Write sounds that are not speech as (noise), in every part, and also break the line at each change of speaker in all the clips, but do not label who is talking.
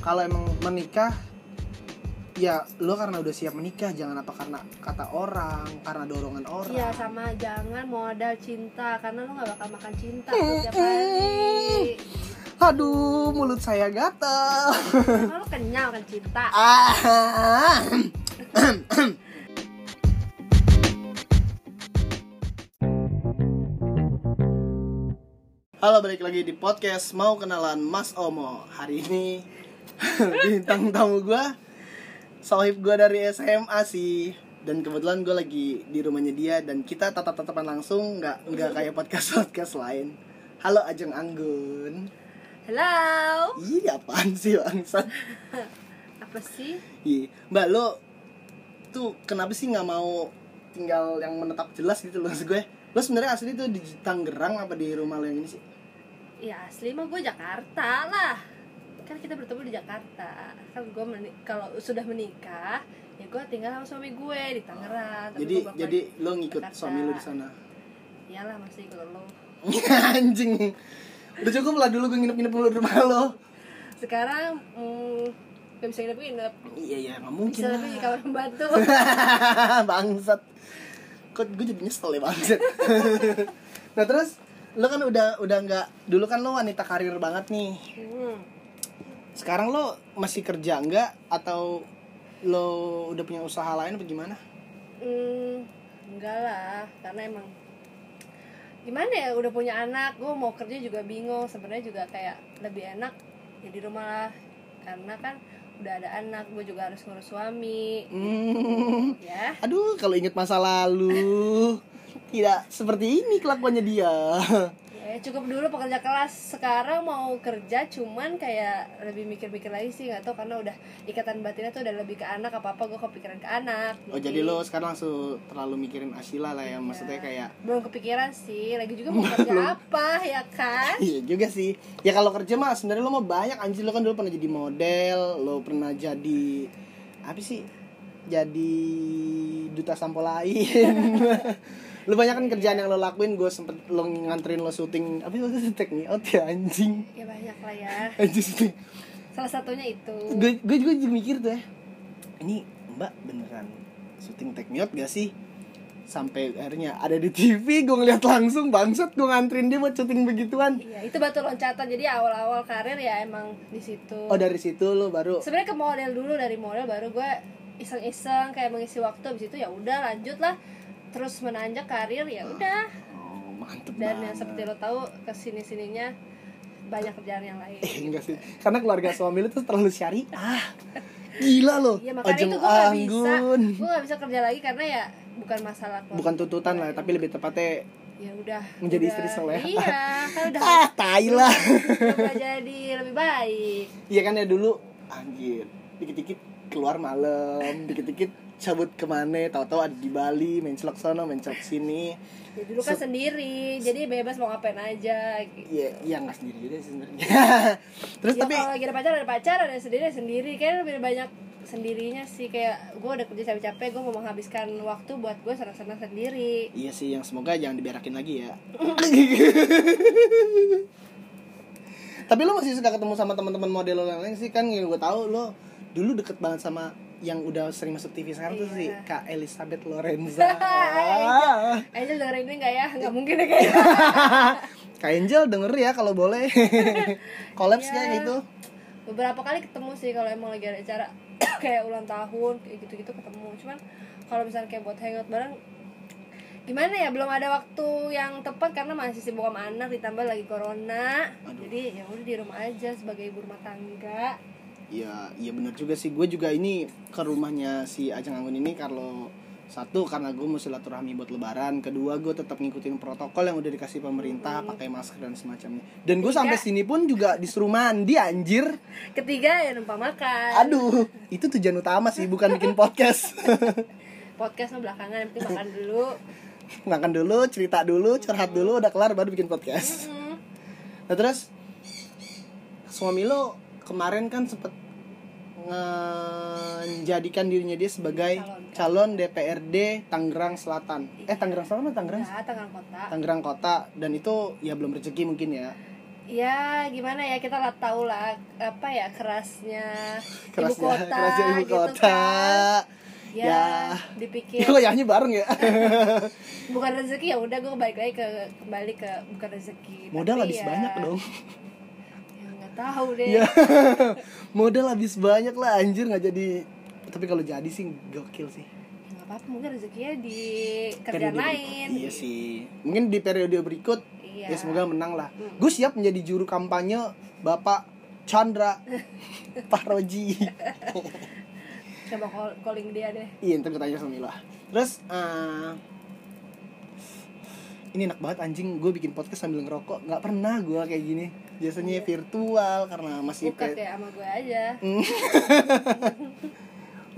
kalau emang menikah ya lo karena udah siap menikah jangan apa karena kata orang karena dorongan orang
Iya sama jangan modal cinta karena lu nggak bakal makan cinta setiap hari.
aduh mulut saya gatel
Karena lu kenyal kan cinta.
Ah. Halo balik lagi di podcast mau kenalan Mas Omo hari ini (laughs) bintang tamu gua sohib gua dari SMA sih dan kebetulan gue lagi di rumahnya dia dan kita tatap tatapan langsung nggak nggak kayak podcast podcast lain halo Ajeng Anggun
Hello.
iya apaan sih bangsat
Apa sih?
Iya, Mbak lo tuh kenapa sih nggak mau tinggal yang menetap jelas gitu loh maksud gue? Lo sebenarnya asli tuh di Tangerang apa di rumah lo yang ini sih?
Ya asli mah gue Jakarta lah. Kan kita bertemu di Jakarta. Kan gue meni- kalau sudah menikah ya gue tinggal sama suami gue di Tangerang. Tapi
jadi
gua bolak-balik
jadi lo ngikut
Jakarta.
suami lo di sana. (laughs)
Iyalah masih kalau lu.
Anjing. Udah cukup lah dulu gue nginep-nginep dulu di rumah lo.
Sekarang mm, gak bisa nginep nginep.
Iya iya nggak mungkin.
Bisa
lah.
lebih di kamar pembantu.
(laughs) bangsat. Kok gue jadi nyesel ya bangsat. (laughs) nah terus lo kan udah udah nggak dulu kan lo wanita karir banget nih
Hmm.
sekarang lo masih kerja nggak atau lo udah punya usaha lain apa gimana?
Hmm, enggak lah, karena emang gimana ya udah punya anak, gue mau kerja juga bingung. Sebenarnya juga kayak lebih enak jadi rumah lah, karena kan udah ada anak, gue juga harus ngurus suami,
Hmm,
ya.
aduh kalau inget masa lalu tidak seperti ini kelakuannya dia.
Ya, cukup dulu pekerja kelas. Sekarang mau kerja, cuman kayak lebih mikir-mikir lagi sih, nggak tau karena udah ikatan batinnya tuh udah lebih ke anak apa apa, gue kepikiran ke anak.
Oh jadi lo sekarang langsung terlalu mikirin Asila lah ya maksudnya kayak
belum kepikiran sih, lagi
(laughs)
juga mau kerja apa ya kan?
Iya juga sih. Ya kalau kerja mah sebenarnya lo mau banyak anjir lo kan dulu pernah jadi model, lo pernah jadi apa sih? Jadi duta sampo lain. (laughs) lo banyak kan kerjaan yang lo lakuin, gue sempet lo nganterin lo syuting apa sih waktu itu take me out ya anjing.
Ya banyak lah ya.
Anjing syuting.
Salah satunya itu.
Gue gue juga jadi mikir tuh ya. Ini Mbak beneran syuting take me out gak sih? Sampai akhirnya ada di TV, gue ngeliat langsung bangsat gue nganterin dia buat syuting begituan.
Iya, itu batu loncatan. Jadi awal-awal karir ya emang di situ.
Oh dari situ lo baru
Sebenarnya ke model dulu dari model baru gue iseng-iseng kayak mengisi waktu habis itu ya udah lanjut lah terus menanjak karir ya udah
Oh, mantep
dan
banget.
yang seperti lo tahu kesini sininya banyak kerjaan yang lain
Eh, enggak sih. Karena keluarga suami lu tuh terlalu syariah. Gila lo.
Iya makanya
Ojeng
itu gue gak bisa
anggun.
gue gak bisa kerja lagi karena ya bukan masalah keluarga.
Bukan tuntutan lah, tapi lebih tepatnya
ya udah
Menjadi
udah.
istri soleh.
iya kan udah
(laughs) ah, tai lah.
udah jadi lebih baik
Iya kan ya dulu anjir. Dikit-dikit keluar malam, dikit-dikit cabut kemana, tahu-tahu ada di Bali, main celok sana, main celok sini.
ya dulu kan sendiri jadi bebas mau ngapain aja gitu.
Iya, iya nggak sendiri juga sih sebenarnya. (laughs) Terus
Ya,
tapi
kalau lagi ada pacar ada pacar ada sendiri ada sendiri kayak lebih banyak sendirinya sih kayak gue udah kerja capek-capek gue mau menghabiskan waktu buat gue senang-senang sendiri
Iya sih, yang semoga jangan diberakin lagi ya. Tapi lo masih suka ketemu sama teman-teman model lo yang lain sih kan yang gue tahu lo dulu deket banget sama yang udah sering masuk TV sekarang tuh
Iya.
sih Kak Elizabeth Lorenza.
Angel dengerin ini nggak ya nggak mungkin deh
Iya.
kayaknya
Kak Angel denger ya kalau boleh. Collabs kayak gitu.
beberapa kali ketemu sih kalau emang lagi ada acara (coughs) kayak ulang tahun kayak gitu-gitu ketemu cuman kalau misalnya kayak buat hangout bareng gimana ya belum ada waktu yang tepat karena masih sibuk sama anak ditambah lagi corona jadi ya udah di rumah aja sebagai ibu rumah tangga (laughs)
Iya, iya benar juga sih. Gue juga ini ke rumahnya si Ajeng Anggun ini kalau satu karena gue mau silaturahmi buat lebaran, kedua gue tetap ngikutin protokol yang udah dikasih pemerintah, pakai masker dan semacamnya. Dan gue sampai sini pun juga disuruh mandi anjir.
ketiga ya numpang makan
Aduh, itu tujuan utama sih bukan bikin podcast. (laughs)
podcast mah belakangan yang penting makan dulu
Makan dulu, cerita dulu, curhat dulu, udah kelar baru bikin podcast.
Hmm.
Nah terus suami lo kemarin kan sempet menjadikan dirinya dia sebagai
kan?
calon DPRD Tangerang Selatan. Eh Tangerang Selatan atau Tangerang?
Nah, tangan kota
Tangerang Kota dan itu ya belum rezeki mungkin ya.
ya gimana ya kita lah tahu lah apa ya kerasnya,
(laughs)
ibu
kerasnya
kota
(laughs) kerasnya ibu
gitu
kota
kan. ya,
Ya.
dipikir
Ini kok yahnya bareng
(laughs)
ya
bukan rezeki ya udah gue balik lagi ke kembali ke bukan rezeki
modal
Tapi
habis
ya,
banyak dong (laughs)
ya nggak tahu deh
ya modal habis banyak lah anjir nggak jadi tapi kalau jadi sih gokil sih
Ya, nggak apa-apa mungkin rezekinya di kerjaan
Periode
lain
berikut. iya sih mungkin di periode berikut
Iya.
ya semoga menang lah
Hmm.
gue siap menjadi juru kampanye bapak
(laughs)
Chandra Pak Roji
coba call- calling dia deh
iya ntar gue tanya sama Mila terus eh, ini enak banget anjing gue bikin podcast sambil ngerokok nggak pernah gue kayak gini
Iya.
biasanya virtual karena masih
buka
pe-
kayak sama gue aja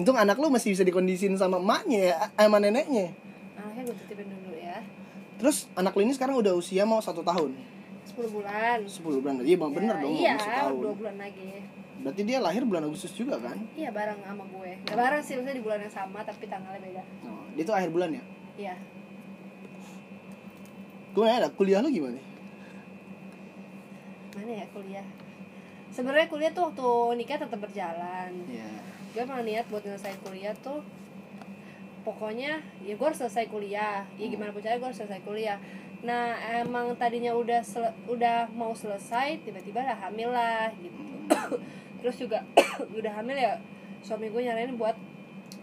untung anak lu masih bisa dikondisin sama emaknya ya eh, sama neneknya
anaknya gue titipin dulu ya
Terus anak lu ini sekarang udah usia mau satu tahun,
10 bulan
10 bulan. Iya bang, bener
Ya,
dong,
iya
mau
dua
tahun.
bulan lagi
Berarti dia lahir bulan Agustus juga kan?
iya bareng sama gue nggak bareng sih maksudnya di bulan yang sama tapi tanggalnya beda
Oh, dia tuh akhir bulan ya.
iya
Gue nanya, dah, kuliah lu gimana?
mana ya kuliah sebenarnya kuliah tuh waktu nikah tetap berjalan
Iya. (coughs)
gue emang niat buat nyelesain kuliah tuh pokoknya ya gue harus selesai kuliah ya
Hmm.
gimana pun caranya gue harus selesai kuliah nah emang tadinya udah sele- udah mau selesai tiba-tiba lah hamil lah gitu terus juga (coughs) udah hamil ya suami gue nyaranin buat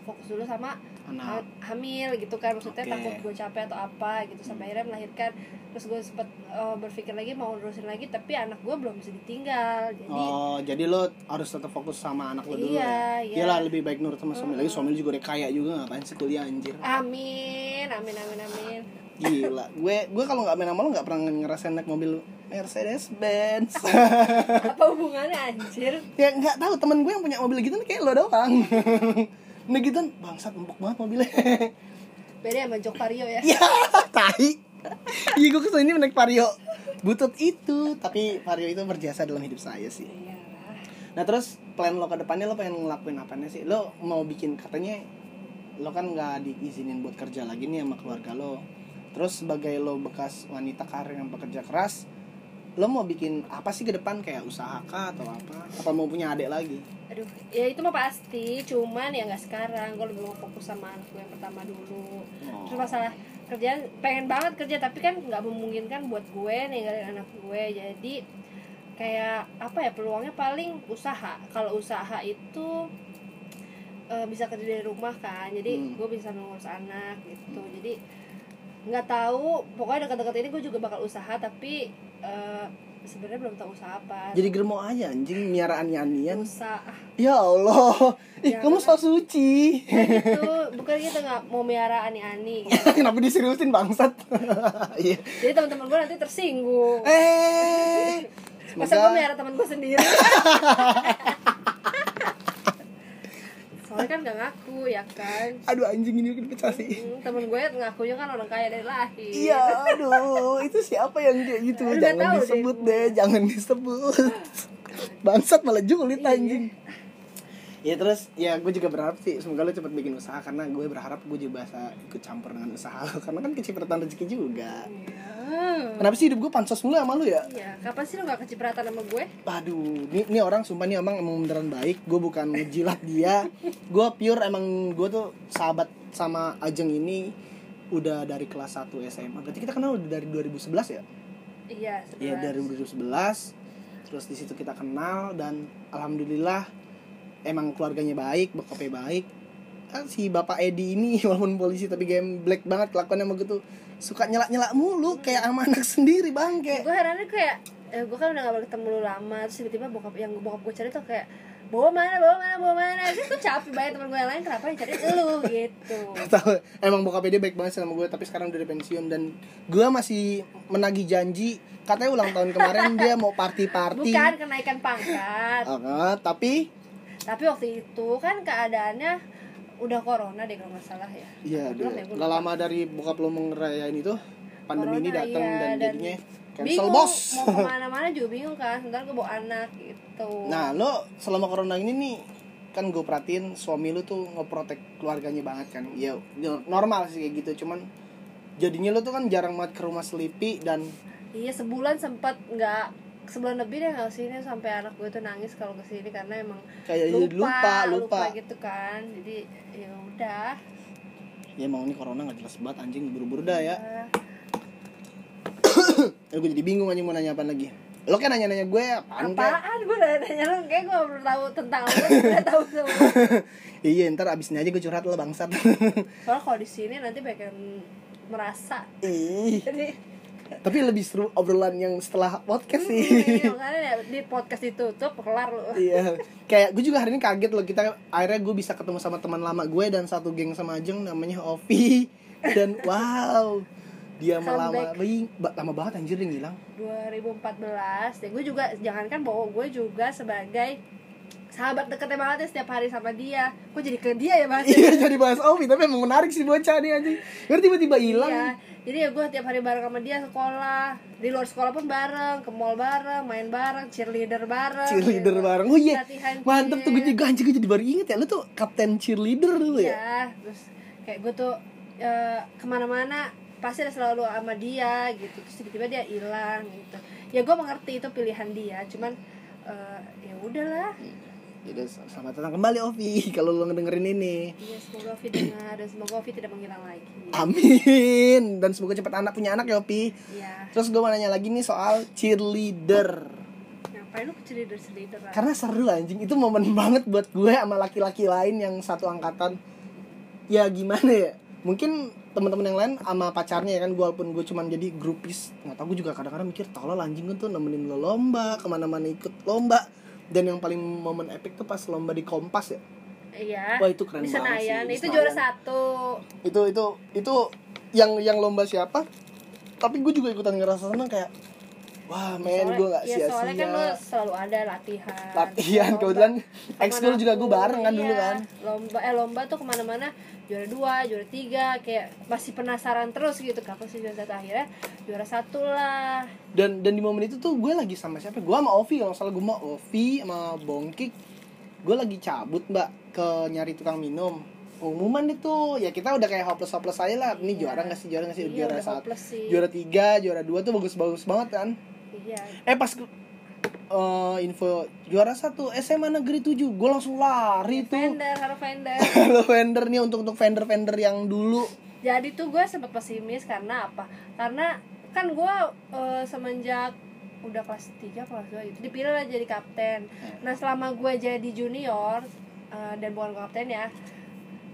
fokus dulu sama
Anak.
ha- hamil gitu kan
Nah.
maksudnya
Oke. Hmm.
takut gue capek atau apa gitu sampai akhirnya melahirkan terus gue sempet eh, berpikir lagi mau nerusin lagi tapi anak gue belum bisa ditinggal jadi
Oh, jadi lo harus tetap fokus sama anak lo dulu ya?
Iya, iya.
Iyalah, lebih baik nurut sama suami. Lagi suami lu juga udah kaya juga, ngapain sih kuliah anjir?
Amin, amin, amin, amin.
Gila, gue gue kalau nggak main sama lo nggak pernah ngerasain naik mobil Mercedes Benz.
Apa hubungannya anjir?
(laughs) ya nggak tahu temen gue yang punya mobil gitu kayak lo doang. (laughs) nah gitu bangsat empuk banget mobilnya. (laughs)
Beda sama Jok Vario ya.
Ya, tai. Iya, gue kesini naik Vario. Butut itu, tapi Vario itu berjasa dalam hidup saya sih.
Iya.
Nah, terus plan lo ke depannya lo pengen ngelakuin apanya sih? Lo mau bikin katanya lo kan nggak diizinin buat kerja lagi nih sama keluarga lo. Terus sebagai lo bekas wanita karir yang bekerja keras, lo mau bikin apa sih ke depan kayak usaha kah atau apa? Apa mau punya adik lagi?
Aduh, ya itu mah pasti, cuman ya nggak sekarang. Gue lebih mau fokus sama anak gue yang pertama dulu. Terus masalah kerjaan pengen banget kerja tapi kan nggak memungkinkan buat gue ninggalin anak gue. Jadi kayak apa ya peluangnya paling usaha. Kalau usaha itu eh, bisa kerja dari rumah kan. Jadi
Hmm.
gue bisa mengurus anak gitu. Jadi nggak tahu pokoknya dekat-dekat ini gue juga bakal usaha tapi eh, sebenarnya belum tahu usaha apa
Jadi kan? germo aja anjing miara anian.
usaha
Ya Allah. Ih,
Jangan.
kamu so suci.
itu bukan gitu nggak mau miara ani-ani gitu.
(laughs) Kenapa diseriusin bangsat? (laughs) Iya.
jadi teman-teman gue nanti
(laughs)
tersinggung
eh.
masa gue
Semoga
miara teman gue
(laughs)
sendiri soalnya kan nggak ngaku ya kan
aduh anjing ini dipecah sih.
Hmm, temen gue ngakunya kan orang kaya dari lahir
Iya, aduh, itu siapa yang kayak gitu?
Aduh,
jangan
nggak tahu
disebut
deh
deh, jangan disebut. Bangsat malah julid
Iya,
anjing. Ya terus ya gue juga berharap sih semoga lo cepet bikin usaha karena gue berharap gue juga bisa ikut campur dengan usaha lo karena kan kecipratan rezeki juga.
Iya.
Kenapa sih hidup gue pansos mulu sama lo ya?
Iya, kapan sih lo gak kecipratan sama gue?
Aduh, ini, ini orang sumpah nih emang emang beneran baik. Gue bukan ngejilat dia. Gue pure emang gue tuh sahabat sama Ajeng ini udah dari kelas 1 SMA. Berarti kita kenal udah dari 2011 ya?
Iya,
Iya,
sebelas.
dari 2011. Terus di situ kita kenal dan alhamdulillah emang keluarganya baik, bokapnya baik. Kan si Bapak Edi ini (laughs) walaupun polisi tapi game black banget kelakuannya sama gue tuh suka nyelak-nyelak mulu kayak sama anak sendiri bangke.
gue herannya kayak eh, gue kan udah gak ketemu lu lama terus tiba-tiba bokap yang bokap gue cari tuh kayak bawa mana bawa mana bawa mana terus gue capek banget temen gue yang lain kenapa yang cari lu gitu
tahu emang bokapnya dia baik banget sama gue tapi sekarang udah di pensiun dan gue masih menagih janji katanya ulang tahun kemarin dia mau party party
bukan kenaikan pangkat
tapi
tapi waktu itu kan keadaannya udah corona deh kalau nggak salah ya
iya
Belum
deh,
ya, gue
nggak
lupa.
lama dari bokap lo mengerayain itu pandemi ini
Corona,
datang
iya,
dan
dan
jadinya cancel
bingung
bos
mau kemana-mana juga bingung kan sebentar gue bawa anak gitu
(laughs) nah lo selama corona ini nih kan gue perhatiin suami lu tuh ngeprotek keluarganya banget kan ya normal sih kayak gitu cuman jadinya lo tuh kan jarang banget ke rumah selipi dan
iya sebulan sempet nggak sebulan lebih deh nggak kesini sampai anak gue tuh nangis kalau kesini karena emang
Kayak jadi lupa, lupa.
gitu kan jadi ya udah
ya emang ini corona nggak jelas banget anjing buru-buru dah ya (coughs)
Eh,
Eh, gue jadi bingung anjing mau nanya apa lagi lo kan nanya-nanya gue apaan kayak (laughs)
apaan gue udah nanya lu kayak gue belum tahu tentang lu udah tahu semua
iya ntar abis ini aja gue curhat lo bangsat (laughs)
soalnya kalau di sini nanti banyak yang merasa
Ih, (laughs)
jadi
tapi lebih seru obrolan yang setelah podcast
(laughs)
sih
ini makanya ya, di podcast ditutup kelar lu
iya kayak gue juga hari ini kaget loh kita akhirnya gue bisa ketemu sama teman lama gue dan satu geng sama Ajeng namanya Ovi dan wow dia melama
Comeback.
Ih, ba- lama banget anjir yang hilang
2014 dan gue juga jangankan bahwa gue juga sebagai sahabat deketnya banget ya setiap hari sama dia gue jadi ke dia ya bahasnya (laughs)
iya jadi bahas Ovi tapi emang menarik sih bocah nih anjing Karena tiba-tiba hilang
Iya. jadi ya gue tiap hari bareng sama dia sekolah di luar sekolah pun bareng ke mall bareng main bareng cheerleader bareng
cheerleader
gitu.
bareng oh iya
Latihan
mantep tuh gue
cheer.
juga anjing gue jadi baru inget ya lu tuh kapten cheerleader dulu ya
Iya, terus kayak gue tuh eh, kemana-mana pasti ada selalu sama dia gitu terus tiba-tiba dia hilang gitu ya gue mengerti itu pilihan dia cuman eh, ya udahlah
jadi selamat datang kembali Ovi (laughs) kalau lo ngedengerin ini
Iya, semoga Ovi dengar dan semoga Ovi tidak menghilang lagi.
amin dan semoga cepat anak punya anak ya Ovi
Iya.
terus gue mau nanya lagi nih soal cheerleader
Ngapain lu kecil leader leader
karena seru anjing itu momen (laughs) banget buat gue sama laki-laki lain yang satu angkatan ya gimana ya mungkin teman-teman yang lain sama pacarnya ya kan gue walaupun gue cuman jadi grupis nggak tahu gue juga kadang-kadang mikir tolol anjing gue tuh nemenin lo lomba kemana-mana ikut lomba dan yang paling momen epic tuh pas lomba di kompas ya
Iya.
Wah, itu keren
Di
banget sih,
Senayan
di
itu
Senayan.
juara satu.
itu itu itu yang yang lomba siapa tapi gue juga ikutan ngerasa seneng kayak wah men
Soalnya-
gue nggak
iya,
sia-sia
soalnya kan lu selalu ada latihan.
latihan
lomba.
kebetulan ekskul
Kemana
juga gue
pun,
bareng kan dulu
iya.
kan
Lomba eh lomba tuh kemana-mana juara dua, juara tiga, kayak masih penasaran terus gitu. Kapan sih juara satu akhirnya juara satu lah.
dan dan di momen itu tuh gue lagi sama siapa gue sama Ovi kalau nggak salah gue sama Ovi sama Bongkik gue lagi cabut mbak ke nyari tukang minum umuman itu ya kita udah kayak hopeless hopeless aja lah ini
Iya.
juara nggak sih juara nggak sih
Iya,
juara
udah
satu
hopeless sih.
juara tiga juara dua tuh bagus bagus banget kan
Iya.
eh pas gue- eh, info juara satu eh, SMA negeri 7 gue langsung lari tuh
Vendor, harus vendor.
kalau vendor nih untuk untuk vendor vendor yang dulu
jadi tuh gue sempat pesimis karena apa karena kan gue eh, semenjak udah kelas 3 apa kelas 2 gitu dipilih lah jadi kapten nah selama gue jadi junior eh, dan bukan kapten ya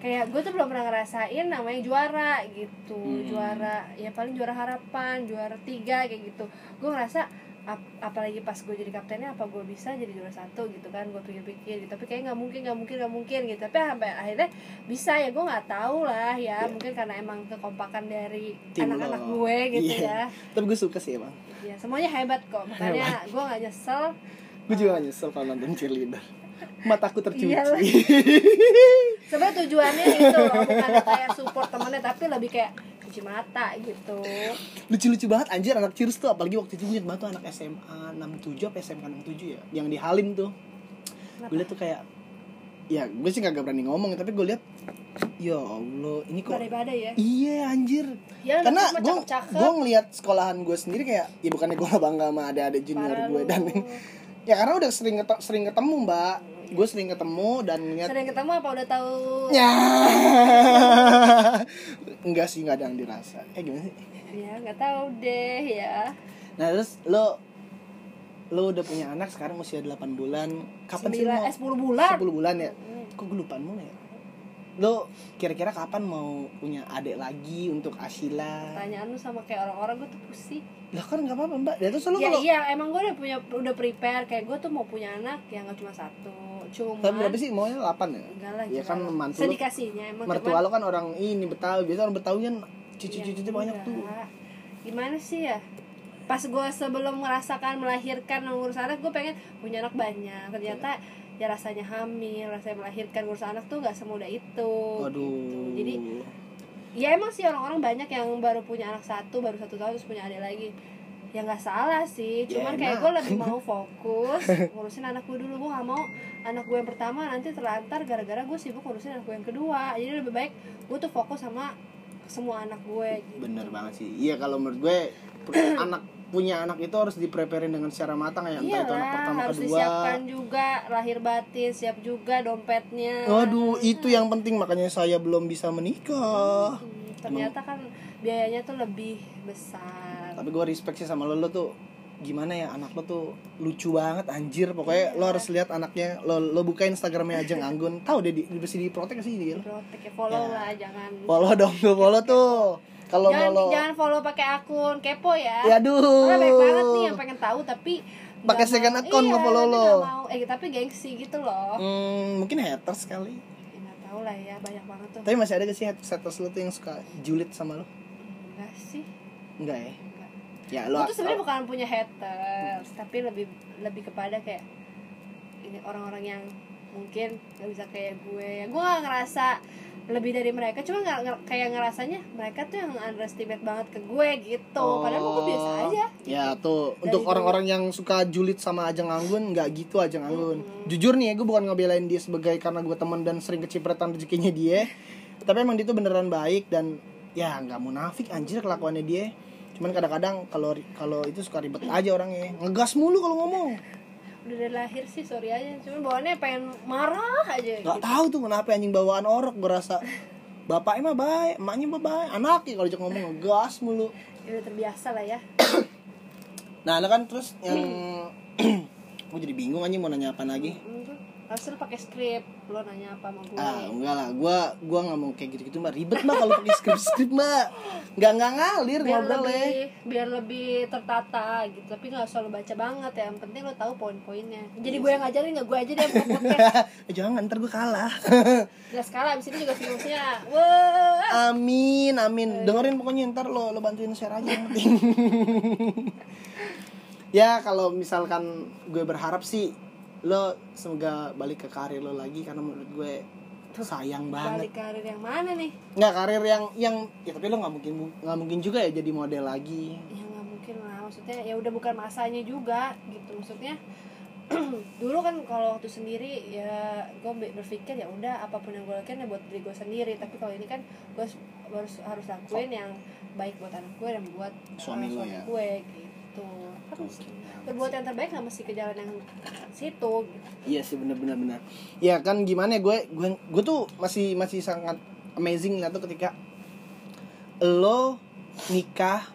kayak gue tuh belum pernah ngerasain namanya juara gitu
Hmm.
juara ya paling juara harapan juara tiga kayak gitu gue ngerasa ap- apalagi pas gue jadi kaptennya apa gue bisa jadi juara satu gitu kan gue pikir-pikir gitu tapi kayak nggak mungkin nggak mungkin nggak mungkin gitu tapi sampai akhirnya bisa ya gue nggak tahu lah ya mungkin karena emang kekompakan dari
Iya. Tim lo.
anak-anak gue gitu
Iya.
ya
tapi gue suka sih emang
ya semuanya hebat
(laughs)
kok makanya gue nggak nyesel
gue juga nyesel kalau nonton cheerleader mataku tercuci
Iyalah. sebenarnya tujuannya itu loh bukan kayak support temennya tapi lebih kayak cuci mata gitu
lucu-lucu banget anjir anak cheers tuh apalagi waktu itu gue inget banget tuh anak SMA 67 apa SMK 67 ya yang di Halim tuh gue liat tuh kayak ya gue sih kagak berani ngomong tapi gue liat ya Allah ini kok
badai-badai ya
iya anjir
ya
karena
cuma
gue
cakep-cakep.
gue ngeliat sekolahan gue sendiri kayak ya bukannya gue bangga sama ada-ada junior
Parah
gue
lu.
dan ya karena udah sering ketem- sering ketemu mbak gue sering ketemu dan ngeliat (laughs)
sering ketemu apa udah tahu
Ya. Enggak sih, enggak ada yang dirasa. Eh gimana sih?
ya nggak tahu deh ya
Nah, terus lo lo udah punya anak sekarang usia 8 bulan. Kapan sih lo
Sembilan- eh, 10 bulan
10 bulan ya?
Hmm.
Kok gue lupaan mulu ya? Lo kira-kira kapan mau punya adik lagi untuk Asila?
pertanyaan lu sama kayak orang-orang gue tuh pusing
Lah kan nggak apa-apa, Mbak. Dan terus lo
ya
kalau
iya emang gue udah punya udah prepare kayak gue tuh mau punya anak yang nggak cuma satu cuma
Tahun berapa sih? Maunya 8 ya?
enggak lah
Ya
gila
kan
lah.
mantu lo,
sedikasinya emang
mertua lo kan orang ini Betawi. Biasa orang Betawi kan cucu-cucunya
Iya,
banyak tuh.
enggak. Gimana sih ya? Pas gue sebelum merasakan melahirkan mengurus anak, gue pengen punya anak banyak. Ternyata ya rasanya hamil, rasanya melahirkan ngurus anak tuh nggak semudah itu. gitu.
Waduh.
Jadi ya emang sih orang-orang banyak yang baru punya anak satu, baru satu tahun terus punya adik lagi. Ya nggak salah sih,
Ya,
cuman kayak
enak.
gue lebih
(laughs)
mau fokus ngurusin anak gue dulu. Gue nggak mau anak gue yang pertama nanti terlantar gara-gara gue sibuk ngurusin anak gue yang kedua. Jadi lebih baik gue tuh fokus sama semua anak gue. Gitu. (coughs)
bener banget sih iya kalau menurut gue per- anak punya anak itu harus dipreparein dengan secara matang ya entah itu anak pertama
Iya harus
kedua
disiapkan juga lahir batin, siap juga dompetnya.
Waduh, itu yang penting makanya saya belum bisa menikah.
Hmm, ternyata kan biayanya tuh lebih besar.
Tapi gue respect sih sama lo, lo tuh gimana ya anak lo tuh lucu banget anjir pokoknya lo harus lihat anaknya lo lo buka instagramnya aja anggun tahu deh di, di mesti diprotek sih dia
Protek ya follow
Ya.
lah, jangan
follow dong (laughs) tuh follow tuh kalau mau
jangan
lo
jangan follow pakai akun kepo ya.
ya aduh
Karena banyak banget nih yang pengen tahu tapi nggak
Pakai
mau-
second account
iya,
nge-follow
tapi
lo.
nggak mau eh tapi gengsi gitu loh.
Hmm, mungkin haters kali
Ya, nggak tahu lah ya banyak banget tuh.
tapi masih ada gak sih haters haters lo tuh yang suka julid sama lo
Enggak sih.
enggak ya
Enggak.
ya
Gue
lo
tuh sebenarnya bukan punya haters, tapi lebih lebih kepada kayak ini orang-orang yang mungkin gak bisa kayak gue. Gue gak ngerasa lebih dari mereka, cuma nggak nggak- kayak ngerasanya mereka tuh yang underestimate banget ke gue gitu. Padahal gue biasa aja.
Ya tuh
Dari
untuk
dulu.
orang-orang yang suka julid sama Ajeng Anggun nggak gitu Ajeng Anggun.
Hmm.
Jujur nih ya gue bukan ngebelain dia sebagai karena gue temen dan sering kecipratan rezekinya dia. Tapi emang dia tuh beneran baik dan ya nggak munafik anjir kelakuannya dia. Cuman kadang-kadang kalau kalau itu suka ribet aja orangnya. Ngegas mulu kalau ngomong.
Udah dari lahir sih sorry aja, cuma bawaannya pengen marah aja. Ya
Nggak tahu tuh kenapa anjing bawaan orok gue rasa. Bapaknya mah baik, emaknya mah baik, anaknya kalau diajak ngomong ngegas mulu.
Ya udah terbiasa lah ya.
Nah, lo kan terus yang (clears throat) gue jadi bingung anjing mau nanya apa lagi.
Harus lu pakai skrip, lo nanya apa sama gue.
Ah, enggak lah, gua gua nggak mau kayak gitu-gitu mbak ribet mbak kalau pakai skrip-skrip mbak nggak nggak ngalir
biar
ngobrol
lebih
ya.
biar lebih tertata gitu tapi nggak selalu baca banget ya yang penting lo tahu poin-poinnya jadi gue yang ngajarin nggak gue aja deh yang buka podcast
(laughs) Eh, Jangan ntar gua kalah. (laughs)
jelas kalah abis ini juga viewsnya wow
amin amin. Dengerin pokoknya ntar lo lo bantuin share aja yang penting. (laughs) ya kalau misalkan gue berharap sih lo semoga balik ke karir lo lagi karena menurut gue sayang banget.
balik karir yang mana nih
Nggak karir yang yang ya tapi lo nggak mungkin nggak mungkin juga ya jadi model lagi.
ya nggak mungkin lah maksudnya ya udah bukan masanya juga gitu maksudnya (clears throat) dulu kan kalau waktu sendiri ya gue be- berpikir ya udah apapun yang gue lakukan ya buat diri gue sendiri tapi kalau ini kan gue harus- harus harus lakuin yang baik buat anak gue dan buat uh,
Suami lo ya.
gue gitu kan
Gokil.
berbuat yang terbaik nggak mesti ke jalan yang situ gitu.
Iya sih benar-benar benar. Ya kan gimana ya, gue gue gue tuh masih masih sangat amazing lah tuh ketika lo nikah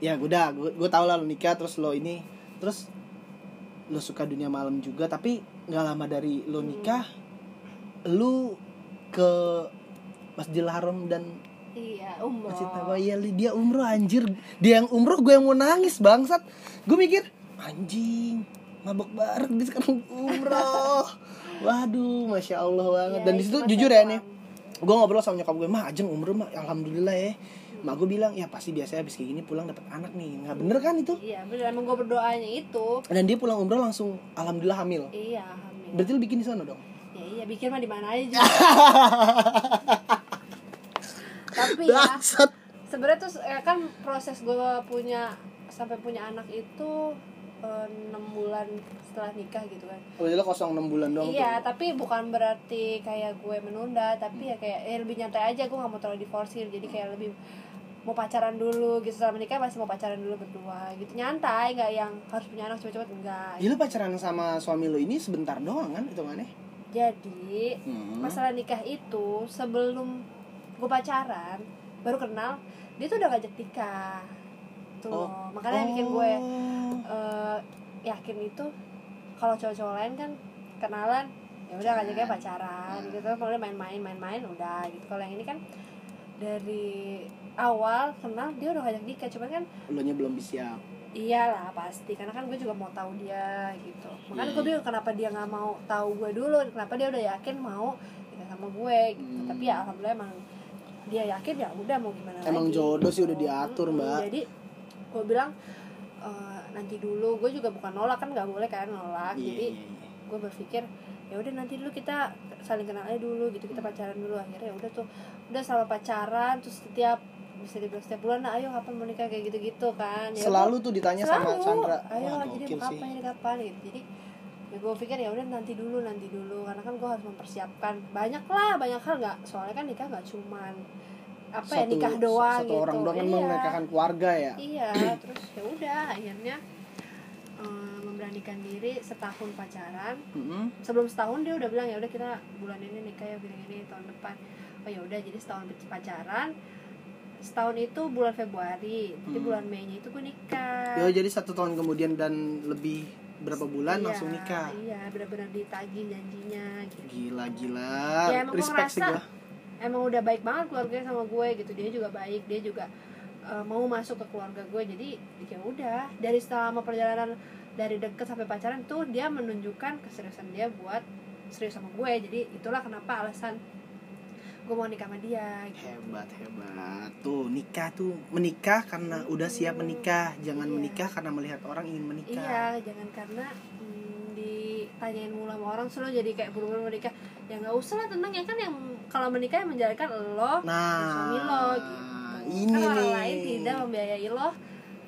ya udah gue gue tau lah lo nikah terus lo ini terus lo suka dunia malam juga tapi nggak lama dari lo nikah lo ke Masjidil Haram dan
iya umroh
Masjid Nabawi ya, li- dia umroh anjir dia yang umroh gue yang mau nangis bangsat gue mikir anjing mabok bareng dia sekarang
(laughs)
umroh waduh masya allah banget
Iya,
dan di
itu
situ
masa
jujur ya
depan.
nih gue ngobrol sama nyokap gue mah ajeng umroh mah alhamdulillah ya mak gue bilang ya pasti biasanya habis kayak gini pulang dapat anak nih nggak bener kan itu
iya bener emang gue berdoanya itu
dan dia pulang umroh langsung alhamdulillah hamil
iya hamil
berarti lu bikin di sana dong
ya iya bikin mah di mana aja juga. tapi ya
Bangsat.
sebenarnya tuh eh, kan proses gue punya sampai punya anak itu eh, enam bulan setelah nikah gitu kan
Berarti lo kosong 6 bulan dong
iya tapi bukan berarti kayak gue menunda tapi ya kayak eh, lebih nyantai aja gue nggak mau terlalu diforsir jadi kayak lebih mau pacaran dulu gitu setelah menikah masih mau pacaran dulu berdua gitu nyantai nggak yang harus punya anak cepet-cepet enggak
Jadi lo Ya, pacaran sama suami lo ini sebentar doang kan hitungannya?
jadi
Hmm.
masalah nikah itu sebelum gue pacaran baru kenal dia tuh udah ngajak nikah tuh
Oh.
loh. makanya yang bikin gue eh, yakin itu kalau cowok-cowok lain kan kenalan ya udah ngajaknya pacaran gitu kemudian main-main main-main udah gitu kalau yang ini kan dari awal kenal dia udah ngajak nikah cuman kan
Oh. lo nya belum siap
iyalah pasti karena kan gue juga mau tahu dia gitu makanya
Hmm.
gue bilang kenapa dia nggak mau tahu gue dulu kenapa dia udah yakin mau nikah sama gue gitu
Hmm.
tapi ya alhamdulillah emang dia yakin ya udah mau gimana
Emang
lagi
jodoh sih
gitu.
udah diatur,
Mm-mm.
Mbak.
jadi gue bilang e, nanti dulu gue juga bukan nolak kan nggak boleh kan nolak
Iya,
jadi gue berpikir ya udah nanti dulu kita saling kenal aja dulu gitu kita pacaran dulu akhirnya udah tuh udah sama pacaran terus setiap bisa dibilang setiap bulan nah, ayo kapan mau nikah kayak gitu-gitu kan Ya
selalu
udah,
tuh ditanya sama
selalu.
Chandra
ayo
wah
jadi
gokil sih
kapan jadi kapan gitu jadi ya gue pikir ya udah nanti dulu nanti dulu karena kan gue harus mempersiapkan banyak lah banyak hal nggak soalnya kan nikah nggak cuman apa ya nikah doang
satu
gitu
orang doang kan
Iya.
memerdekakan keluarga ya
iya terus ya udah akhirnya eh, memberanikan diri setahun pacaran
Mm-mm.
sebelum setahun dia udah bilang ya udah kita bulan ini nikah ya bulan ini tahun depan oh ya udah jadi setahun pacaran setahun itu bulan Februari tapi
Hmm.
bulan Mei nya itu gue nikah
Ya, jadi satu tahun kemudian dan lebih berapa bulan
Iya,
langsung nikah
iya benar-benar ditagih janjinya gitu
gila gila
Ya, emang gua
respect sih
ngerasa-
gua
emang udah baik banget keluarganya sama gue gitu dia juga baik dia juga eh, mau masuk ke keluarga gue jadi ya udah dari selama perjalanan dari deket sampai pacaran tuh dia menunjukkan keseriusan dia buat serius sama gue jadi itulah kenapa alasan gue mau nikah sama dia gitu.
hebat hebat tuh nikah tuh menikah karena udah siap menikah jangan
Iya.
menikah karena melihat orang ingin menikah
Iya, jangan karena mm, ditanyain mulu sama orang selalu jadi kayak buru-buru menikah. Ya nggak usah lah tenang ya kan yang kalau menikah yang menjalankan lo dan
nah
suami lo gitu.
ini
kan orang
nih
lain tidak membiayai lo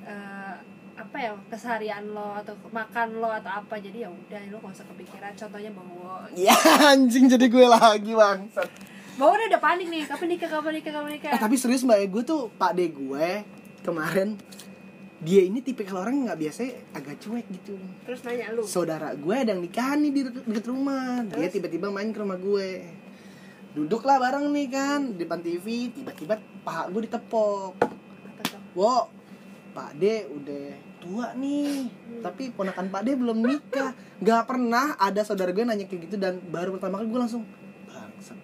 eh, apa ya keseharian lo atau makan lo atau apa jadi ya udah lo gak usah kepikiran contohnya bawa
ya anjing jadi gue lagi bangsat
bawa udah udah panik nih kapan nikah kapan nikah kapan nikah
Eh tapi serius mbak ya, gue tuh pak de gue kemarin dia ini tipikal orang yang nggak biasa agak cuek gitu.
terus nanya lu
Saudara gue ada yang nikahan nih di deket deket rumah. Dia
Terus?
tiba-tiba main ke rumah gue. Duduklah bareng nih kan di depan TV. Tiba-tiba paha gue ditepok.
apa tuh
Wo, Pak De udah tua nih, tapi ponakan Pak De belum nikah. Gak pernah ada saudara gue nanya kayak gitu dan baru pertama kali gue langsung bangsat.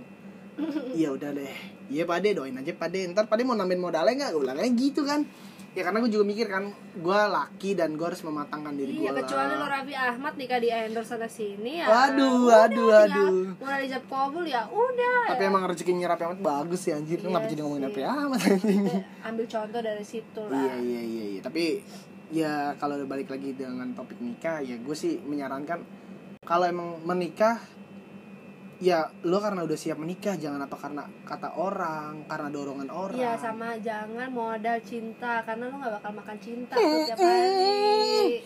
Iya udah deh. Iya Pak De doain aja Pak De. Ntar Pak De mau nambahin modalnya nggak? Gue bilang kayak gitu kan. Ya karena gue juga mikir kan, gue laki dan gue harus mematangkan diri gue
Iya, kecuali lo
lah.
Raffi Ahmad nikah di endorse sana sini ya.
Waduh,
Udah,
waduh,
tinggal
waduh.
Mulai dijab kabul ya, udah.
Tapi
ya.
emang rezekinya Rapi amat bagus ya anjir.
Iya
Kenapa jadi ngomongin
sih.
Rapi amat anjing?
Kita Eh, ambil contoh dari situ lah.
Iya iya iya iya. Tapi ya kalau balik lagi dengan topik nikah ya gue sih menyarankan kalau emang menikah ya lo karena udah siap menikah jangan apa karena kata orang karena dorongan orang.
Iya, sama jangan modal cinta karena lo gak bakal makan cinta tuh tiap hari.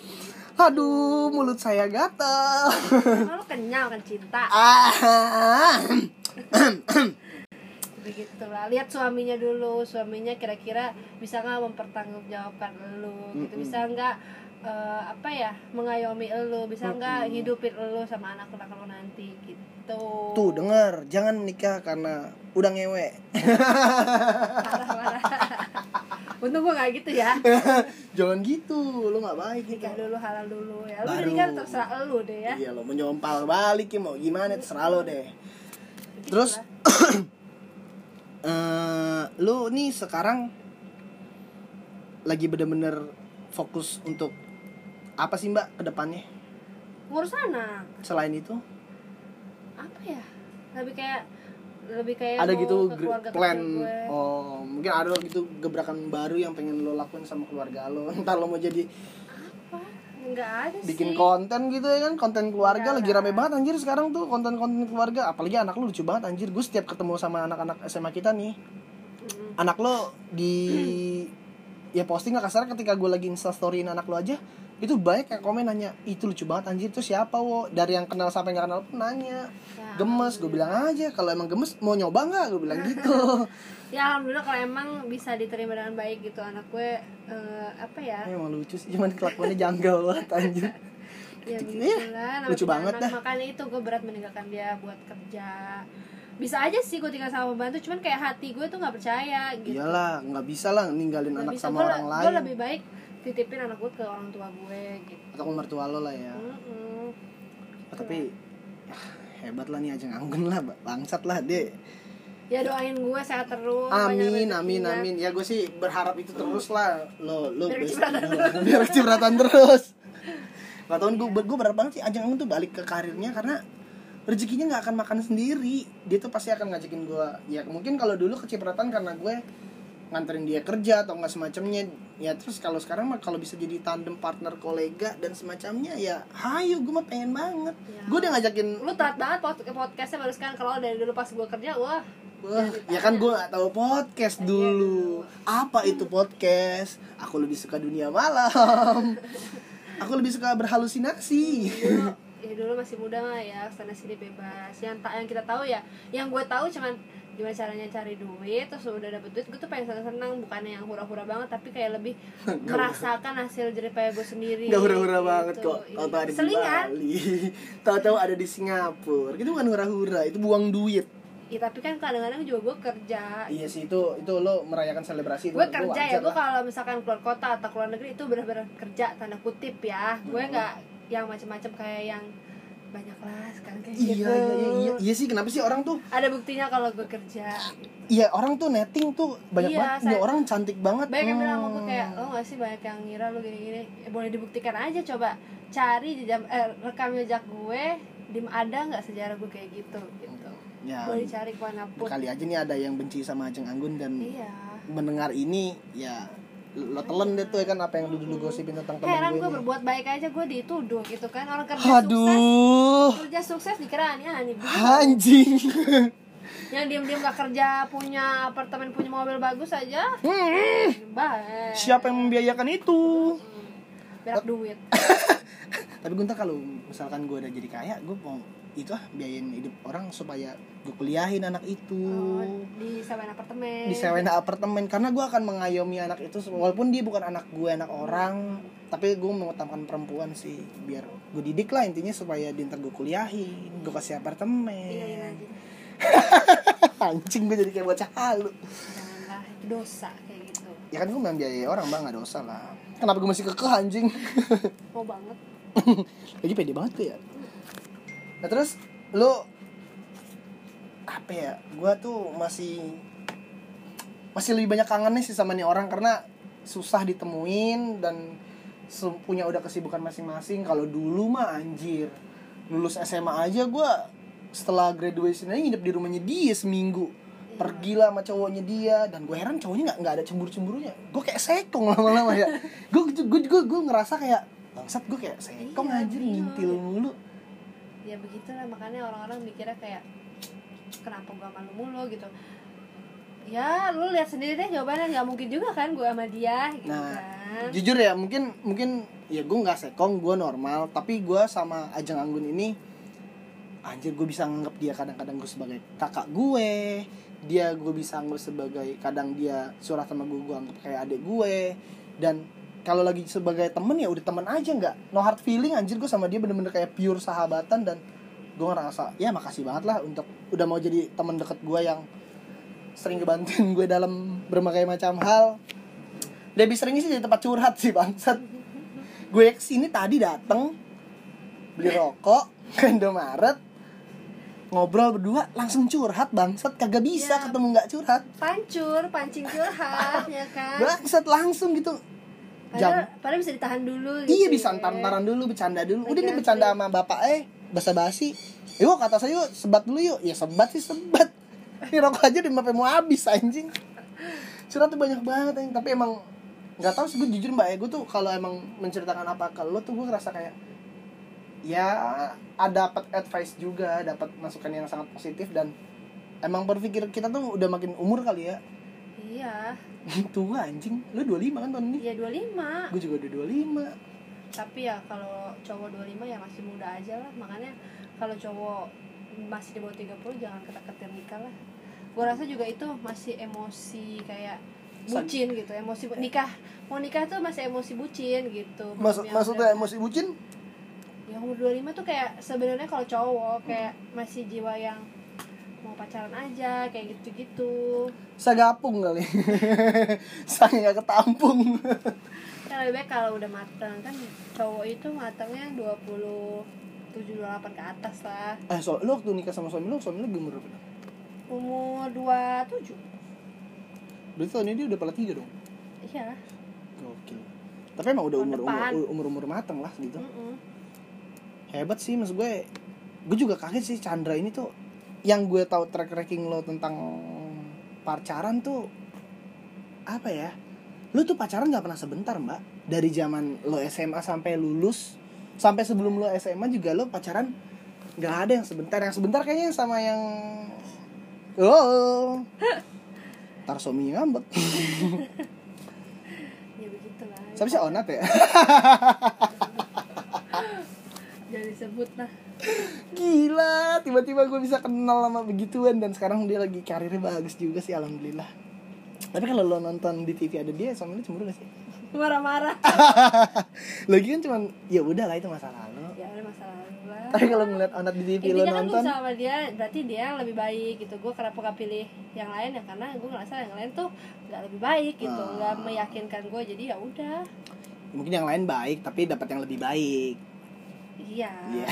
Aduh mulut saya
(laughs)
gatel.
Karena lo kenyal kan cinta.
Ah.
Begitu lah. Lihat suaminya dulu, suaminya kira-kira bisa nggak mempertanggungjawabkan lo gitu.
Mm-mm.
Bisa nggak eh, apa ya mengayomi lo bisa nggak hidupin lo sama anak-anak lo nanti gitu
Tuh denger jangan menikah karena udah ngewe.
parah parah untung gue gak gitu
(laughs)
ya
jangan gitu lo nggak baik
nikah
gitu.
dulu halal dulu ya lu
Baru.
nikah terserah elu deh ya
Iya lo menyompal balik ya mau gimana terserah lo deh.
Begitulah.
Terus eh lu nih sekarang lagi bener-bener fokus untuk apa sih mbak kedepannya
ngurus anak
selain itu
apa ya lebih kayak lebih kayak
ada
mau
gitu
ke
gr-
keluarga kecil
plan
gue.
oh mungkin ada gitu gebrakan baru yang pengen lo lakuin sama keluarga lo (laughs) entar lo mau jadi
apa nggak ada
bikin
sih Iya,
konten gitu ya kan konten keluarga
Enggak
lagi
lah.
rame banget anjir sekarang tuh konten-konten keluarga apalagi anak lo lucu banget anjir gue setiap ketemu sama anak-anak SMA kita nih
Mm-mm.
anak lo di ya posting nggak kasar ketika gue lagi instastoryin anak lo aja itu banyak yang komen nanya itu lucu banget anjir itu siapa wo dari yang kenal sampai nggak kenal pun nanya
Ya,
gemes gue bilang aja kalau emang gemes mau nyoba nggak gue bilang
(laughs)
gitu
ya alhamdulillah kalau emang bisa diterima dengan baik gitu anak gue eh, apa ya
emang lucu sih cuman kelakuannya janggal banget anjir
ya
Gitu
begitulah namanya
Lucu
punya
banget
anak.
dah.
makanya itu gue berat meninggalkan dia buat kerja bisa aja sih gue tinggal sama pembantu cuman kayak hati gue tuh nggak percaya gitu
iyalah nggak bisa lah ninggalin
Nggak
anak
bisa.
sama
Gua le-
orang
Gue
lain
lebih baik titipin anak gue ke orang tua gue gitu.
atau ke mertua lo lah ya
Mm-mm.
Oh, tapi ah, hebat lah nih aja nganggun lah bangsat lah deh
Ya doain gue sehat terus.
Amin,
banyak
amin,
rezekinya.
amin. Ya gue sih berharap itu terus lah. Lo, lo
Biar
best-
kecipratan
lo, (laughs) biar kecipratan terus. Gak tau gue, gue berharap banget sih Ajeng Ang tuh balik ke karirnya karena rezekinya nggak akan makan sendiri. Dia tuh pasti akan ngajakin gue. Ya mungkin kalau dulu kecipratan karena gue nganterin dia kerja atau nggak semacamnya. Ya terus kalau sekarang mah kalau bisa jadi tandem partner kolega dan semacamnya ya, hayu gue mah pengen banget.
Ya.
Gue udah ngajakin
Lu telat banget pod podcastnya baru sekarang kalau dari dulu pas gue kerja wah
Wah, ya kan gue gak tahu podcast
Iya,
dulu. Apa itu podcast? Aku lebih suka dunia
(laughs)
malam. Aku lebih suka berhalusinasi.
dulu ya dulu masih muda mah ya sana sini bebas yang tak yang kita tahu ya yang gue tahu cuman gimana caranya cari duit terus udah dapet duit gue tuh pengen senang-senang bukannya yang hura-hura banget tapi kayak
(laughs)
lebih merasakan hasil jeripaya gue sendiri
Gak hura-hura banget
gitu.
kok
Iya.
Tahu-tahu ada di
selingan
Bali (laughs) Tahu-tahu ada di Singapura Itu bukan hura-hura Itu buang duit
ya tapi kan kadang-kadang juga gue kerja
Iya sih itu itu lo merayakan selebrasi itu
gue
menurut gua
kerja ya
wajar
gue
lah.
kalau misalkan keluar kota atau keluar negeri itu benar-benar kerja tanda kutip ya gue
Hmm.
nggak yang macam-macam kayak yang banyak lah sekarang kayak
Iya,
gitu
iya, iya, iya, iya sih kenapa sih orang tuh
ada buktinya kalau gue kerja
Iya orang tuh netting tuh banyak
Iya,
banget
saya-
Nih orang cantik banget
banyak yang bilang sama gue
Hmm.
kayak lo gak sih banyak yang ngira lo gini-gini Eh, boleh dibuktikan aja coba cari jejak eh, rekam jejak gue di ada nggak sejarah gue kayak gitu gitu
Ya
boleh cari kemanapun
kali aja nih ada yang benci sama Ajeng Anggun dan
iya
mendengar ini ya lo telan deh tuh ya kan apa yang lu dulu gosipin tentang temen
heran gue
gue ini.
berbuat baik aja gue dituduh gitu kan orang kerja sukses
Aduh
kerja sukses dikira aneh-aneh (laughs)
anjing
yang Ya, diam-diam gak kerja punya apartemen punya mobil bagus aja
Hmm.
baik
Siapa yang membiayakan itu?
Hmm, berak duit
Tapi gue ntar kalau misalkan gue udah jadi kaya, gue mau itu ah biayain hidup orang supaya gue kuliahin anak itu.
Oh, di sewain apartemen
disewain apartemen karena gue akan mengayomi anak itu walaupun dia bukan anak gue anak orang tapi gue mengutamakan perempuan sih biar gue didik lah intinya supaya dia ntar gue kuliahin gue kasih
Iya, iya,
apartemen
iya.
anjing gue jadi kayak bocah halu
janganlah itu dosa kayak gitu
ya kan gue membiayai orang bang gak dosa lah kenapa gue masih kekeh anjing Oh,
mau banget
lagi pede banget tuh ya nah terus lu apa ya gue tuh masih masih lebih banyak kangennya sih sama nih orang karena susah ditemuin dan se- punya udah kesibukan masing-masing kalau dulu mah anjir lulus SMA aja gue setelah graduation aja nginep di rumahnya dia seminggu pergilah sama cowoknya dia dan gue heran cowoknya nggak nggak ada cemburu cemburunya gue kayak sekong lama-lama ya gue gue gue gue ngerasa kayak bangsat gue kayak sekong
Iya,
anjir
iya.
ngintil mulu
ya begitulah makanya orang-orang mikirnya kayak kenapa gua malu mulu gitu ya lu lihat sendiri deh jawabannya nggak mungkin juga kan gua sama dia gitu
Nah,
kan
jujur ya mungkin mungkin ya gue nggak sekong gue normal tapi gue sama Ajeng Anggun ini anjir gue bisa nganggap dia kadang-kadang gue sebagai kakak gue dia gue bisa anggap sebagai kadang dia surah sama gue gue anggap kayak adik gue dan kalau lagi sebagai temen ya udah temen aja nggak no hard feeling anjir gue sama dia bener-bener kayak pure sahabatan dan gue ngerasa ya makasih banget lah untuk udah mau jadi temen deket gue yang sering ngebantuin gue dalam berbagai macam hal lebih seringnya sih jadi tempat curhat sih bangsat gue kesini tadi dateng beli rokok (laughs) ke Indomaret ngobrol berdua langsung curhat bangsat kagak bisa
Ya.
ketemu nggak curhat
pancur pancing curhat ya kan
bangsat langsung gitu jam
padahal, padahal bisa ditahan dulu gitu
iya bisa
ya.
ntar-ntaran dulu bercanda dulu udah nih
Oke,
bercanda
oke.
sama bapak eh basa basi yuk kata saya yuk sebat dulu yuk ya sebat sih sebat (laughs) ini rokok aja di mau habis anjing curhat tuh banyak banget anjing tapi emang nggak tahu sih gue jujur mbak ya gue tuh kalau emang menceritakan apa ke lo tuh gue ngerasa kayak ya ada dapat advice juga dapat masukan yang sangat positif dan emang berpikir kita tuh udah makin umur kali ya (laughs)
iya
tua anjing lu 25 kan tahun ini
iya 25
gue juga udah 25
tapi ya kalau cowok 25 ya masih muda aja lah makanya kalau cowok masih di bawah 30 jangan ketar-ketir nikah lah gue rasa juga itu masih emosi kayak
San-
bucin gitu emosi bu- nikah mau nikah tuh masih emosi bucin gitu Belum
Maksud,
yang
maksudnya
udah-
emosi bucin
yang umur 25 tuh kayak sebenarnya kalau cowok kayak
Hmm.
masih jiwa yang mau pacaran aja kayak gitu-gitu
segapung kali (laughs) saya nggak ketampung
kan lebih baik kalau udah mateng kan cowok itu matengnya 27 28 ke atas lah
eh so lu waktu nikah sama suami lu suami lu umur berapa
umur 27
berarti tahun ini dia udah pala tiga dong
iya
gokil tapi emang udah
Tahun
umur
depan.
umur umur umur mateng lah gitu
Mm-mm.
hebat sih mas gue gue juga kaget sih Chandra ini tuh yang gue tahu track tracking lo tentang pacaran tuh apa ya lu tuh pacaran nggak pernah sebentar mbak dari zaman lo SMA sampai lulus sampai sebelum lo SMA juga lo pacaran nggak ada yang sebentar yang sebentar kayaknya sama yang oh tar suaminya ngambek
ya begitu lah
siapa sih onat ya
jadi sebut lah (laughs)
gila tiba tiba-tiba gue bisa kenal sama begituan dan sekarang dia lagi karirnya bagus juga sih alhamdulillah tapi kalau lo nonton di TV ada dia sama lu cemburu gak sih
marah-marah
Ah. lagi kan cuman ya udah lah itu masalah lo
ya ada masalah lalu lah
tapi kalau ngeliat onat di TV lo
intinya kan gue
nonton
sama dia berarti dia yang lebih baik gitu gue kenapa gak pilih yang lain ya karena gue ngerasa yang lain tuh nggak lebih baik gitu
Ah.
nggak meyakinkan gue jadi ya udah
mungkin yang lain baik tapi dapat yang lebih baik
iya
Iya.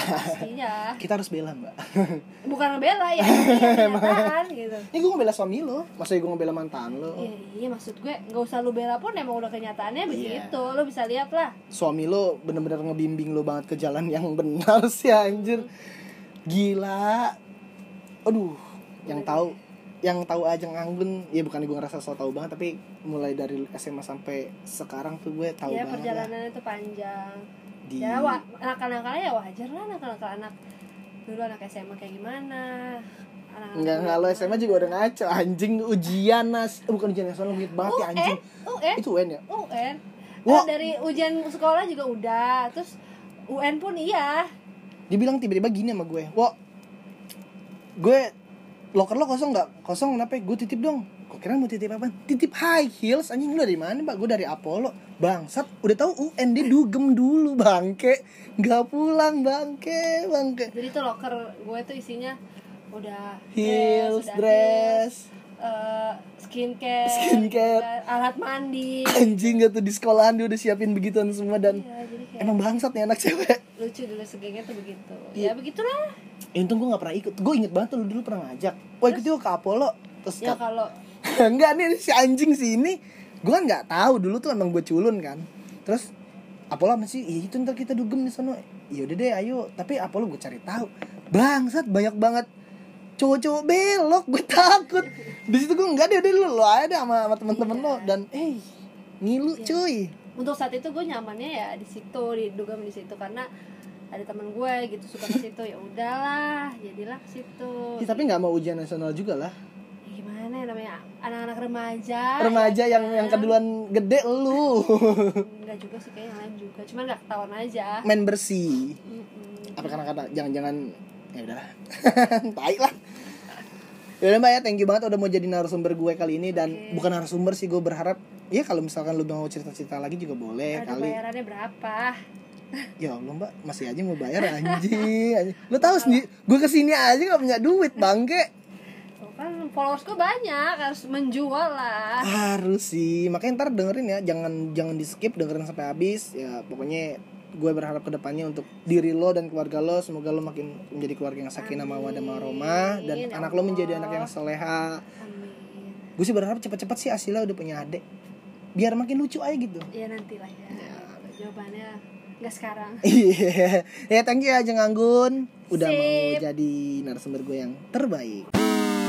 iya
kita harus bela mbak (laughs)
bukan ngebela ya kenyataan gitu
ini gue ngebela suami lo maksudnya gue ngebela mantan lo
Iya, iya maksud gue nggak usah lu bela pun emang udah kenyataannya
Iya.
begitu lu bisa lihat lah
suami lo bener-bener ngebimbing lo banget ke jalan yang benar (laughs) sih anjir gila aduh yang tahu yang tahu aja nganggun ya bukan gue ngerasa so tau banget tapi mulai dari SMA sampai sekarang tuh gue tahu
ya
banget lah
perjalanannya tuh panjang
di
ya wa nakal-nakalnya ya wajar lah nakal-nakal anak dulu anak SMA kayak gimana Anak-anak
Enggak, enggak, lo SMA juga udah ngaco Anjing, ujian nas eh, Bukan ujian nasional, ngit banget ya
UN
anjing
UN
Itu UN ya?
UN
Wah.
Nah, dari ujian sekolah juga udah terus UN pun iya
Dia bilang tiba-tiba gini sama gue Wo, gue loker lo kosong nggak? Kosong kenapa? ya? Gue titip dong Gue kira mau titip apa? Titip high heels Anjing, lu dari mana pak? Gue dari Apollo Bangsat, udah tahu UN dia dugem dulu bangke Gak pulang bangke, bangke
jadi tuh loker gue tuh isinya udah
Heels,
dress, udah
dress
heels, eh, skincare,
Skincare.
udah alat mandi
Anjing gak tuh di sekolahan dia udah siapin begituan semua Dan
Iya, jadi kayak
emang bangsat nih anak cewek
lucu dulu segengnya tuh begitu
Iya.
ya begitulah
Ya, untung gue gak pernah ikut Gue inget banget tuh lu dulu pernah ngajak Wah ikut yuk ke Apollo Terus
ya
kata-
kalau
(laughs) Enggak nih si anjing si ini Gue kan gak tahu dulu tuh emang gue culun kan Terus Apollo masih Iya itu ntar kita dugem di sana Yaudah deh ayo Tapi Apollo gue cari tahu Bangsat banyak banget cowok-cowok belok gue (laughs) takut di situ gue enggak deh udah lu lo aja deh sama, sama temen-temen lo dan eh ngilu cuy
untuk saat itu gue nyamannya ya di situ di dugem di situ karena ada teman gue gitu suka ke situ ya udahlah jadilah ke situ
Ih, tapi nggak mau ujian nasional juga lah
Ya gimana ya namanya anak-anak remaja
remaja
iya.
yang yang keduluan gede lu (laughs)
enggak juga sih kayaknya yang lain juga cuman nggak ketahuan aja
main bersih
Mm-mm.
apa karena kata jangan-jangan ya udahlah (laughs) tai lah ya udah mbak ya thank you banget udah mau jadi narasumber gue kali ini dan
Oke.
bukan narasumber sih gue berharap ya kalau misalkan lu mau cerita-cerita lagi juga boleh
Aduh
Eh, kali
bayarannya berapa
ya allah mbak masih aja mau bayar anjing, anjing. lu tahu sendiri gue kesini aja gak punya duit bangke
Tuh kan followers gue banyak harus menjual lah
harus sih makanya ntar dengerin ya jangan jangan di skip dengerin sampai habis ya pokoknya gue berharap kedepannya untuk diri lo dan keluarga lo semoga lo makin menjadi keluarga yang sakinah mawadah maromah dan
Amin, ya
anak lo menjadi
Allah.
anak yang soleha
amin
gue sih berharap cepet-cepet sih Asila udah punya adik biar makin lucu aja gitu (laughs)
ya nantilah ya jawabannya nggak sekarang
iya ya thank you aja nganggun udah mau
Sip.
jadi narasumber gue yang terbaik